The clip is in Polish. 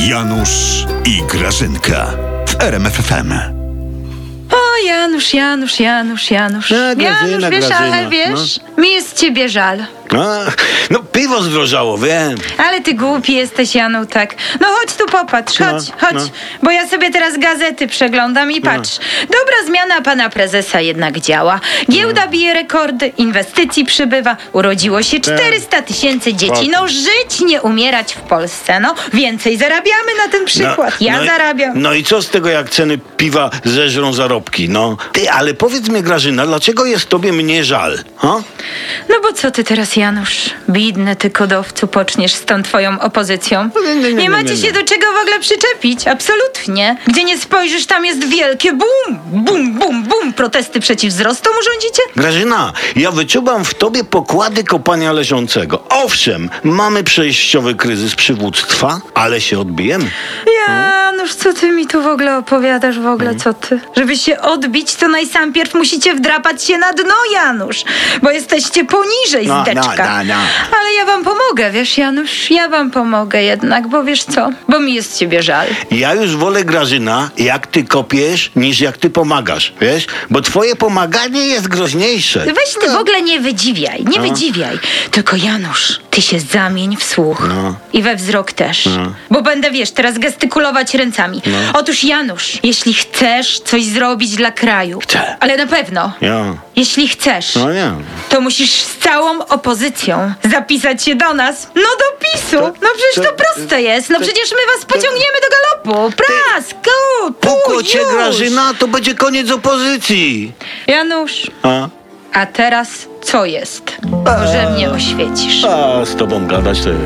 Janusz i Grażynka w RMFFM. O Janusz, Janusz, Janusz, Janusz. A, Grażyna, Janusz, wiesz, Grażyna, ale wiesz, mi jest ciebie żal. A, no piwo zdrożało, wiem. No, Ale ty głupi jesteś, Janu, tak. No chodź tu popatrz, No, chodź, chodź. no. Bo ja sobie teraz gazety przeglądam i patrz. Dobra zmiana pana prezesa jednak działa. No. Giełda bije rekordy, inwestycji przybywa, urodziło się Tak. 400 tysięcy dzieci. No żyć, nie umierać w Polsce. No więcej zarabiamy na ten przykład. Ja i- zarabiam. No i co z tego, jak ceny piwa zeżrą zarobki, no? Ty, ale powiedz mi, Grażyna, dlaczego jest tobie mnie żal? Ha? No bo co ty teraz, Janusz? Bidny ty kodowcu, poczniesz z tą twoją opozycją. No, nie, nie, Nie nie, macie nie, się nie. do czego w ogóle przyczepić, absolutnie. Gdzie nie spojrzysz, tam jest wielkie bum, bum, bum, bum. Protesty przeciw wzrostom urządzicie? Grażyna, ja wyczuwam w tobie pokłady kopania leżącego. Owszem, mamy przejściowy kryzys przywództwa, ale się odbijemy. Janusz, co ty mi tu w ogóle opowiadasz, w ogóle co ty? Żeby się odbić, to najsampierw musicie wdrapać się na dno, Janusz, bo jesteście poniżej No, no, zdeczka. no, no. Ale ja wam pomogę, wiesz, Janusz, ja wam pomogę jednak, bo wiesz co, bo mi jest ciebie żal. Ja już wolę, Grażyna, jak ty kopiesz, niż jak ty pomagasz, wiesz? Bo twoje pomaganie jest groźniejsze. Weź ty w ogóle nie wydziwiaj, nie No. wydziwiaj. Tylko Janusz, ty się zamień w słuch. No. I we wzrok też. Bo będę, wiesz, teraz gestykulować ręcami. No. Otóż Janusz, jeśli chcesz coś zrobić dla kraju. Chcę. Ale na pewno. Ja, Jeśli chcesz, no nie. to musisz z całą opozycją zapisać się do nas. No do PiSu. No przecież to to- proste jest. No przecież my was pociągniemy do galopu. Pras, go, pu, Puko cię, już. Grażyna, to będzie koniec opozycji. Janusz, A? a teraz co jest? Eee. Może mnie oświecisz. A z tobą gadać to...